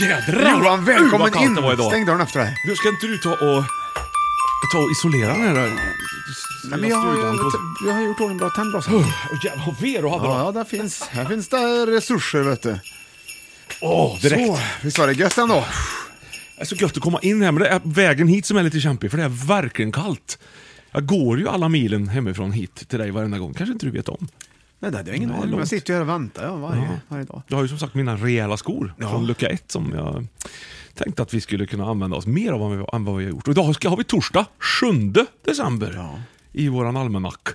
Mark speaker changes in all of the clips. Speaker 1: Jädrar!
Speaker 2: Johan,
Speaker 1: Uh, vad
Speaker 2: välkommen
Speaker 1: kallt
Speaker 2: in!
Speaker 1: det var idag.
Speaker 2: Stäng dörren efter dig.
Speaker 1: Nu ska inte du ta och, ta och isolera den här eh, s-
Speaker 2: Nej, men jag, har, jag,
Speaker 1: stugan? på-
Speaker 2: jag har gjort ordning bra tändbrasa.
Speaker 1: Åh, jävlar vad ved du hade
Speaker 2: Ja,
Speaker 1: då.
Speaker 2: ja, där finns, här finns det resurser vet du.
Speaker 1: Åh, direkt.
Speaker 2: Så, visst var det gött ändå?
Speaker 1: Det är så gött att komma in här, men det är vägen hit som är lite kämpig, för det är verkligen kallt. Jag går ju alla milen hemifrån hit till dig varenda gång. kanske inte du vet om.
Speaker 2: Nej, det hade jag ingen
Speaker 1: Nej,
Speaker 2: aning om. Jag
Speaker 1: långt.
Speaker 2: sitter ju här och väntar ja, varje, varje dag.
Speaker 1: Du har ju som sagt mina rejäla skor från lucka ett som jag tänkte att vi skulle kunna använda oss mer av än vad vi- än vad vi har gjort. Och idag ska- har vi torsdag 7 december i våran almanack.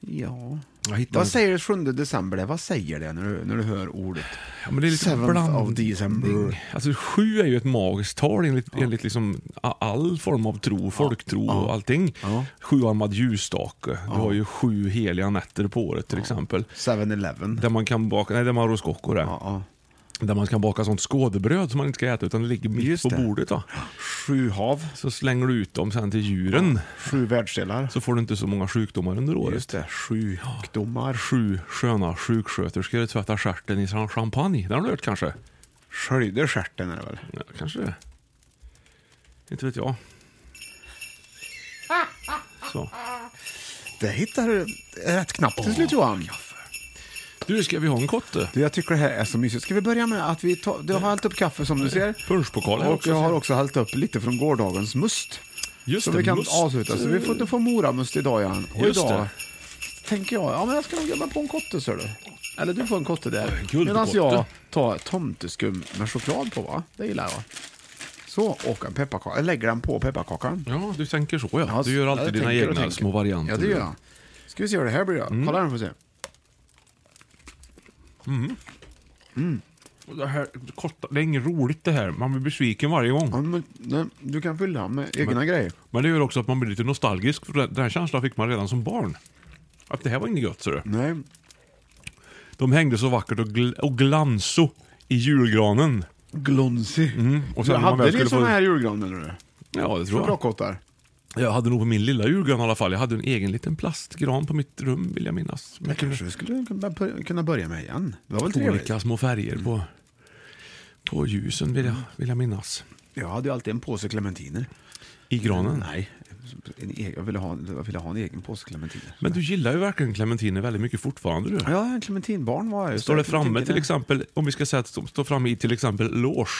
Speaker 2: Ja.
Speaker 1: Jag hittade
Speaker 2: Vad säger 7 december det? Vad säger det när du, när du hör ordet?
Speaker 1: Ja, men det är lite
Speaker 2: 7th
Speaker 1: blandning.
Speaker 2: of December.
Speaker 1: Alltså sju är ju ett magiskt tal enligt, enligt liksom a- all form av tro, folktro och allting. Sjuarmad ljusstake. Du har ju sju heliga nätter på året till exempel.
Speaker 2: 7-Eleven.
Speaker 1: Där man kan baka, nej det är maroskocco det.
Speaker 2: ja.
Speaker 1: Där man kan baka sånt skådebröd som man inte ska äta utan det ligger mitt
Speaker 2: Just
Speaker 1: på
Speaker 2: det.
Speaker 1: bordet. Då.
Speaker 2: Sju hav.
Speaker 1: Så slänger du ut dem sen till djuren.
Speaker 2: Sju världsdelar.
Speaker 1: Så får du inte så många sjukdomar under året.
Speaker 2: Just det, sjukdomar.
Speaker 1: Sju sköna sjuksköterskor tvättar stjärten i sån champagne. Den har du hört kanske?
Speaker 2: Sköljde stjärten är det väl?
Speaker 1: Ja, kanske det. Inte vet jag. Så.
Speaker 2: Det hittar du rätt knappt till slut Johan.
Speaker 1: Du, ska vi ha en kotte?
Speaker 2: Du, jag tycker det här är så mysigt. Ska vi börja med att vi tar, du har hällt upp kaffe som du ser.
Speaker 1: Punschpokal här
Speaker 2: Och
Speaker 1: också,
Speaker 2: jag har
Speaker 1: ser.
Speaker 2: också hällt upp lite från gårdagens must.
Speaker 1: Just
Speaker 2: Som
Speaker 1: det,
Speaker 2: vi kan
Speaker 1: must.
Speaker 2: avsluta. Så vi får inte få moramust idag igen. Och
Speaker 1: Just
Speaker 2: idag
Speaker 1: det.
Speaker 2: tänker jag, ja men jag ska nog gömma på en kotte ser du. Eller du får en kotte där.
Speaker 1: guldkotte.
Speaker 2: Medan jag tar tomteskum med choklad på va. Det gillar jag. Så, och en pepparkaka. Jag lägger den på pepparkakan.
Speaker 1: Ja, du tänker så ja.
Speaker 2: Ja,
Speaker 1: Du gör alltid
Speaker 2: jag
Speaker 1: dina
Speaker 2: tänker och
Speaker 1: egna
Speaker 2: tänker.
Speaker 1: små varianter. Mm.
Speaker 2: Ja, det gör jag. Ska vi se hur det här blir då. Kolla här får vi se.
Speaker 1: Och Det, här, kotta, det är inget roligt det här. Man blir besviken varje gång.
Speaker 2: Ja, men, nej, du kan fylla med egna grejer.
Speaker 1: Men det gör också att man blir lite nostalgisk. För den den här känslan fick man redan som barn. Att det här var inget gött, ser du.
Speaker 2: Nej,
Speaker 1: De hängde så vackert och, gl- och glanso i julgranen.
Speaker 2: glonsig.
Speaker 1: och sen när
Speaker 2: du
Speaker 1: man
Speaker 2: hade
Speaker 1: väl
Speaker 2: ni
Speaker 1: skulle få-
Speaker 2: sådana här julgran menar du?
Speaker 1: Ja, det tror jag.
Speaker 2: Chokladkottar?
Speaker 1: Jag hade nog på min lilla julgran i alla fall. Jag hade en egen liten plastgran på mitt rum vill jag minnas.
Speaker 2: Det kanske vi skulle kunna bör- kunna börja med igen. Det var väl trevligt? Mm.
Speaker 1: olika små färger på, på ljusen vill jag, vill jag minnas.
Speaker 2: Jag hade ju alltid en påse clementiner.
Speaker 1: I granen.
Speaker 2: Nej, en e- jag, ville ha, jag ville ha en egen påse clementiner.
Speaker 1: Men du gillar ju verkligen clementiner väldigt mycket fortfarande du.
Speaker 2: Ja, en clementinbarn var jag ju. så
Speaker 1: Står det
Speaker 2: jag
Speaker 1: framme
Speaker 2: tänker
Speaker 1: till exempel, om vi ska säga att stå- står framme i till exempel loge.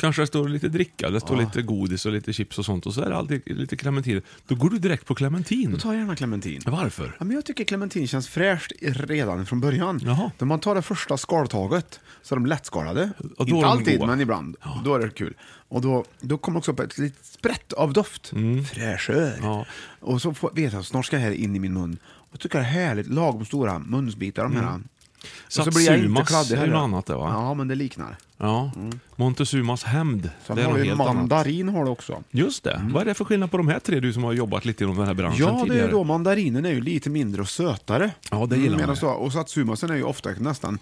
Speaker 1: Kanske det står lite dricka, det står lite godis och lite chips och sånt och så är det alltid lite clementiner. Då går du direkt på clementin.
Speaker 2: Då tar jag gärna clementin.
Speaker 1: Varför?
Speaker 2: Ja, men jag tycker clementin känns fräscht i- redan från början.
Speaker 1: Jaha.
Speaker 2: När man tar det första skaltaget så är de lättskalade.
Speaker 1: då är
Speaker 2: Inte
Speaker 1: de
Speaker 2: alltid,
Speaker 1: goda.
Speaker 2: men ibland. Då är det kul. Och då, då kommer också upp ett litet sprätt av doft. Fräschör.
Speaker 1: Mm. Ja.
Speaker 2: Och så får, vet jag snart ska det här in i min mun. Och tycker det är härligt, lagom stora munsbitar de här. Och så blir jag inte
Speaker 1: Satsumas
Speaker 2: kladdig
Speaker 1: Mm. är ju
Speaker 2: heller.
Speaker 1: något annat det, va?
Speaker 2: Ja, men det liknar.
Speaker 1: Ja. Montezumas hämnd.
Speaker 2: Sen
Speaker 1: det är
Speaker 2: har
Speaker 1: något
Speaker 2: vi
Speaker 1: helt annat.
Speaker 2: mandarin har du också.
Speaker 1: Just det. Vad är det för skillnad på de här tre, du som har jobbat lite inom den här branschen
Speaker 2: Ja, det
Speaker 1: tidigare?
Speaker 2: är ju då mandarinen är ju lite mindre och sötare. Mm.
Speaker 1: Ja, det gillar man
Speaker 2: Medan
Speaker 1: ju.
Speaker 2: så- Och satsumasen är ju ofta nästan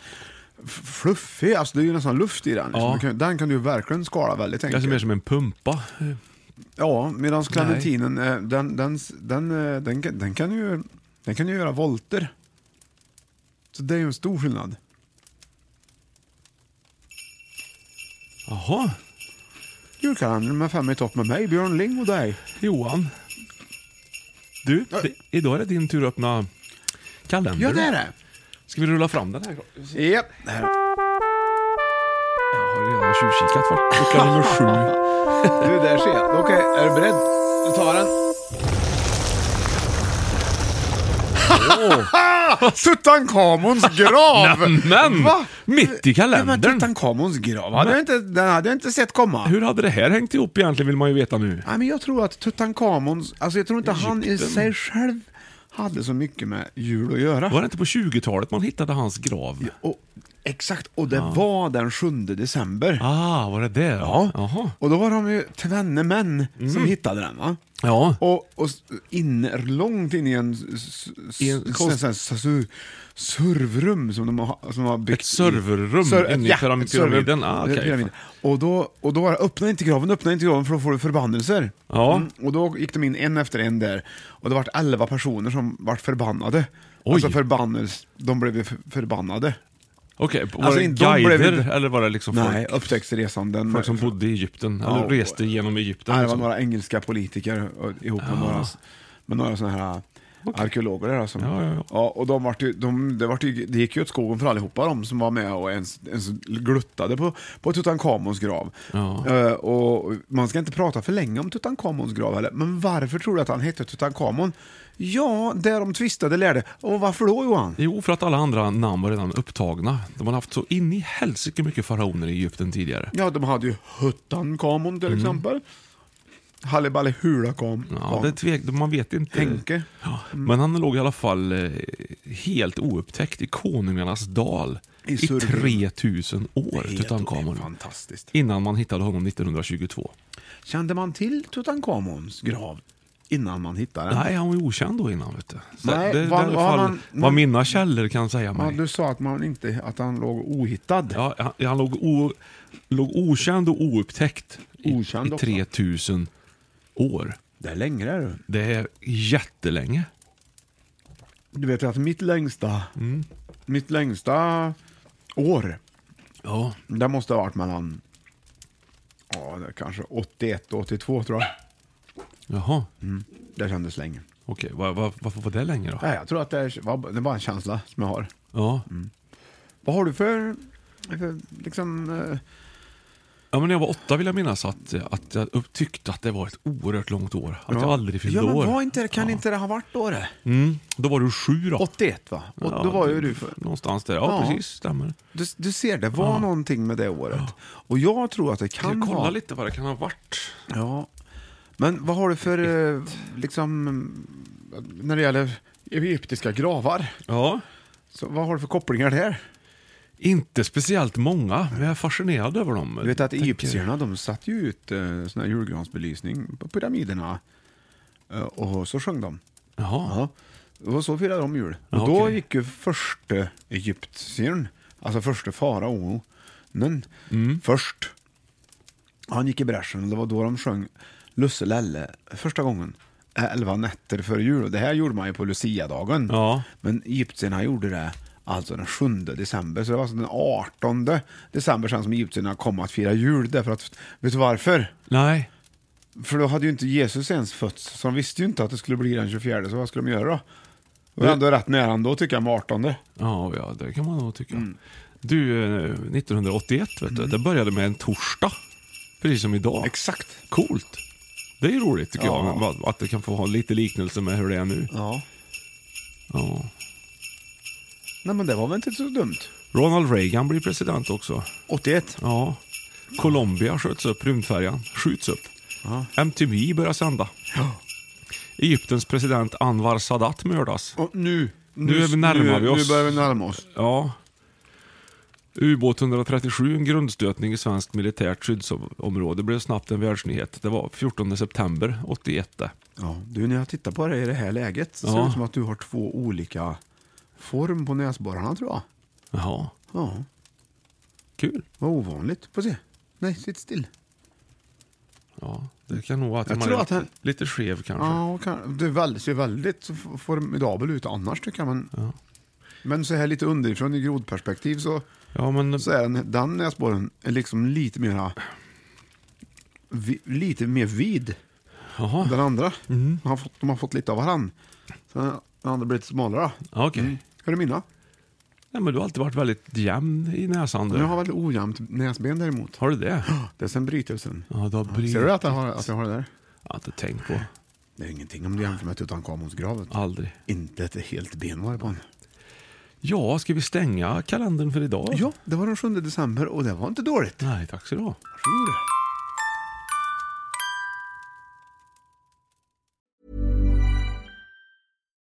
Speaker 2: f- fluffig. Alltså det är ju nästan luft i den. Liksom.
Speaker 1: Ja.
Speaker 2: Du kan, den kan du ju verkligen skala väldigt
Speaker 1: Det är alltså
Speaker 2: enkelt.
Speaker 1: mer som en pumpa.
Speaker 2: Ja, medan clementinen, eh, den, den, den, eh, den, kan- den, kan ju, den kan ju göra volter. Så det är ju en stor skillnad.
Speaker 1: Jaha,
Speaker 2: Julkalendern med fem i topp med mig, Björn Ling och dig.
Speaker 1: Johan. Du, det, idag är det din tur att öppna kalendern.
Speaker 2: Ja, det är det.
Speaker 1: Ska vi rulla fram den här?
Speaker 2: Japp. Här.
Speaker 1: Jag har redan tjuvkikat för lucka nummer sju.
Speaker 2: Du, där ser jag. Okej, är du beredd? Du tar den. Tutankhamons grav!
Speaker 1: Nämen! Mitt i kalendern.
Speaker 2: Ja, men Tutankhamons grav, hade jag inte, den hade jag inte sett komma.
Speaker 1: Hur hade det här hängt ihop egentligen vill man ju veta nu.
Speaker 2: Nej, men jag tror att Tutankhamons, alltså jag tror inte han i sig själv hade så mycket med jul att göra.
Speaker 1: Var det inte på 20-talet man hittade hans grav?
Speaker 2: Och, exakt, och det var den 7 december.
Speaker 1: Ah, var det det?
Speaker 2: Ja.
Speaker 1: Jaha. Mm.
Speaker 2: Och då var de ju tvenne män som hittade den va?
Speaker 1: Ja.
Speaker 2: Och, och s- in, långt in i en, s- s-
Speaker 1: I en konst-
Speaker 2: sån- sån- sån- sån- servrum som de har, som har byggt.
Speaker 1: Ett serverrum
Speaker 2: Ser-
Speaker 1: inne i
Speaker 2: ja,
Speaker 1: pyram-
Speaker 2: ett servrum.
Speaker 1: pyramiden. Ah, okej.
Speaker 2: Pyramiden. Och då, och då var det, öppna inte graven, öppna inte graven för då får du förbannelser. Mm,
Speaker 1: Ja.
Speaker 2: och då gick de in en efter en där. Och det vart elva personer som vart förbannade.
Speaker 1: Oj.
Speaker 2: Alltså förbannelse, de blev ju för- förbannade.
Speaker 1: Okej, var
Speaker 2: Alltså,
Speaker 1: det
Speaker 2: inte- de blev
Speaker 1: guider
Speaker 2: inte-
Speaker 1: eller var det liksom folk,
Speaker 2: Nej, upptäcktsresanden.
Speaker 1: folk som bodde i Egypten?
Speaker 2: Ja.
Speaker 1: Eller reste genom Egypten?
Speaker 2: Nej, det var
Speaker 1: liksom?
Speaker 2: några engelska politiker och- ihop med några, med några sådana här äh, arkeologer. Där, som,
Speaker 1: Ja, ja, ja.
Speaker 2: och de vart ju, de, det, vart ju, det gick ju åt skogen för allihopa de som var med och ens, ens gluttade på, på Tutankhamons grav.
Speaker 1: Ja.
Speaker 2: Eh, och man ska inte prata för länge om Tutankhamons grav heller, men varför tror du att han hette Tutankhamon? Ja, där de tvistade lärde. Och varför då Johan?
Speaker 1: Jo, för att alla andra namn var redan upptagna. De har haft så in i helsike mycket faraoner i Egypten tidigare.
Speaker 2: Ja, de hade ju Huttankhamon till exempel. Halliballehulakam.
Speaker 1: Mm. Ja, det är tvek, man vet inte.
Speaker 2: Henke.
Speaker 1: Ja,
Speaker 2: Mm.
Speaker 1: men han låg i alla fall eh, helt oupptäckt i Konungarnas dal
Speaker 2: I
Speaker 1: i,
Speaker 2: Surbrunn.
Speaker 1: 3000 år,
Speaker 2: Helt
Speaker 1: Tutankhamon.
Speaker 2: fantastiskt.
Speaker 1: Innan man hittade honom 1922.
Speaker 2: Kände man till Tutankhamons grav innan man hittade den?
Speaker 1: Nej, han var ju okänd då innan. Vet du. Så
Speaker 2: Nej,
Speaker 1: det,
Speaker 2: vad-
Speaker 1: det är i
Speaker 2: vad
Speaker 1: alla fall
Speaker 2: man-
Speaker 1: vad mina källor kan säga
Speaker 2: Ja,
Speaker 1: mig.
Speaker 2: du sa att, man inte, att han låg ohittad.
Speaker 1: Ja, han, han låg, o, låg okänd och oupptäckt i,
Speaker 2: Okänd
Speaker 1: i
Speaker 2: också.
Speaker 1: 3000 år.
Speaker 2: Det är längre. är det.
Speaker 1: Det är jättelänge.
Speaker 2: Du vet ju att mitt längsta,
Speaker 1: Mm.
Speaker 2: mitt längsta år,
Speaker 1: Ja.
Speaker 2: det måste ha varit mellan ja, det är kanske 81 och 82 tror jag.
Speaker 1: Jaha.
Speaker 2: Det kändes länge.
Speaker 1: Okej, va- va- varför var det länge då?
Speaker 2: Nej, jag tror att det är, var- det var en känsla som jag har.
Speaker 1: Ja.
Speaker 2: Vad har du för, för liksom, eh,
Speaker 1: Ja, men när jag var åtta vill jag minnas att, att jag upp- tyckte att det var ett oerhört långt år. Att jag aldrig fyllde
Speaker 2: ja, men
Speaker 1: år.
Speaker 2: Var inte, kan inte det ha varit då det?
Speaker 1: Mm. Då var du sju då.
Speaker 2: 81 va? Och
Speaker 1: Ja,
Speaker 2: då var ju du för,
Speaker 1: Någonstans där. Ja,
Speaker 2: Ja.
Speaker 1: precis. Stämmer.
Speaker 2: Du, du ser, det var någonting med det året. Och jag tror att det
Speaker 1: Ska
Speaker 2: kan
Speaker 1: jag kolla
Speaker 2: vara...
Speaker 1: lite vad det kan ha varit?
Speaker 2: Ja. Men vad har du för, eh, liksom, eh, när det gäller egyptiska gravar,
Speaker 1: Ja.
Speaker 2: så vad har du för kopplingar där?
Speaker 1: Inte speciellt många, men jag är fascinerad över dem.
Speaker 2: Du vet att
Speaker 1: Tänker-
Speaker 2: egyptierna, de satte ju ut eh, sån här julgransbelysning på pyramiderna eh, och så sjöng de.
Speaker 1: Jaha.
Speaker 2: Ja. Det var så firade de jul. Och
Speaker 1: Ja,
Speaker 2: då
Speaker 1: okej.
Speaker 2: gick ju första egyptiern, alltså första faraonen,
Speaker 1: Mm.
Speaker 2: först. Han gick i bräschen och det var då de sjöng Lusse Lelle första gången. eh, Elva nätter före jul. Och Det här gjorde man ju på Lucia-dagen.
Speaker 1: Ja.
Speaker 2: Men egyptierna gjorde det alltså den 7 december. Så det var alltså den 18 december sen som egyptierna kom att fira jul. Därför att, vet du varför?
Speaker 1: Nej.
Speaker 2: För då hade ju inte Jesus ens fötts, så de visste ju inte att det skulle bli den 24, så vad skulle de göra då? Det var ändå rätt nära ändå tycker jag, med 18.
Speaker 1: Ja, ja, det kan man nog tycka.
Speaker 2: Mm.
Speaker 1: Du, eh, 1981, vet du, det började med en torsdag. Precis som idag.
Speaker 2: Exakt.
Speaker 1: Coolt. Det är ju roligt tycker
Speaker 2: Ja.
Speaker 1: jag, att- att det kan få ha lite liknelse med hur det är nu.
Speaker 2: Ja.
Speaker 1: Ja.
Speaker 2: Nej men det var väl inte så dumt.
Speaker 1: Ronald Reagan blir president också.
Speaker 2: 81.
Speaker 1: Ja. Colombia sköts upp, rymdfärjan skjuts upp. MTV börjar sända. Egyptens president Anwar Sadat mördas.
Speaker 2: Och nu,
Speaker 1: Nu är vi- närmar vi
Speaker 2: nu,
Speaker 1: oss.
Speaker 2: Nu börjar vi närma oss.
Speaker 1: Ja. Ubåt 137, en grundstötning i svenskt militärt skyddsområde, blev snabbt en världsnyhet. Det var 14 september 81. det.
Speaker 2: Ja. Du, när jag tittar på det i det här läget så ser
Speaker 1: Ja.
Speaker 2: det ut som att du har två olika form på näsborrarna tror jag.
Speaker 1: Jaha.
Speaker 2: Ja.
Speaker 1: Kul.
Speaker 2: Vad ovanligt. På se. Nej, sitt still.
Speaker 1: Ja, det kan nog vara att
Speaker 2: Jag
Speaker 1: man är
Speaker 2: tror att
Speaker 1: lite,
Speaker 2: han-
Speaker 1: lite skev kanske.
Speaker 2: Ja, och kan, det är väldigt, ser väldigt f- formidabel ut annars tycker jag. Men, men så här lite underifrån i grodperspektiv så,
Speaker 1: Ja, men
Speaker 2: så är den, den näsborren är liksom lite mera vi, lite mer vid
Speaker 1: jaha.
Speaker 2: den andra. Han har fått, de har fått lite av varann. Så den andra blir lite smalare.
Speaker 1: Ja, Ah, Okej.
Speaker 2: Hur är det mina?
Speaker 1: Nej, men du har alltid varit väldigt jämn i näsan. Du.
Speaker 2: Jag har väldigt ojämnt näsben däremot.
Speaker 1: Har du det?
Speaker 2: Det är sen brytelsen.
Speaker 1: Ja, du har bryt...
Speaker 2: Ser du att jag, har, att jag har det där?
Speaker 1: Jag har inte tänkt på.
Speaker 2: Det är ingenting om du jämför med Tutankhamons grav.
Speaker 1: Aldrig.
Speaker 2: Inte ett helt ben var det på honom.
Speaker 1: Ja, ska vi stänga kalendern för idag?
Speaker 2: Ja, det var den 7 december och det var inte dåligt.
Speaker 1: Nej, tack så du ha.
Speaker 2: Varsågod.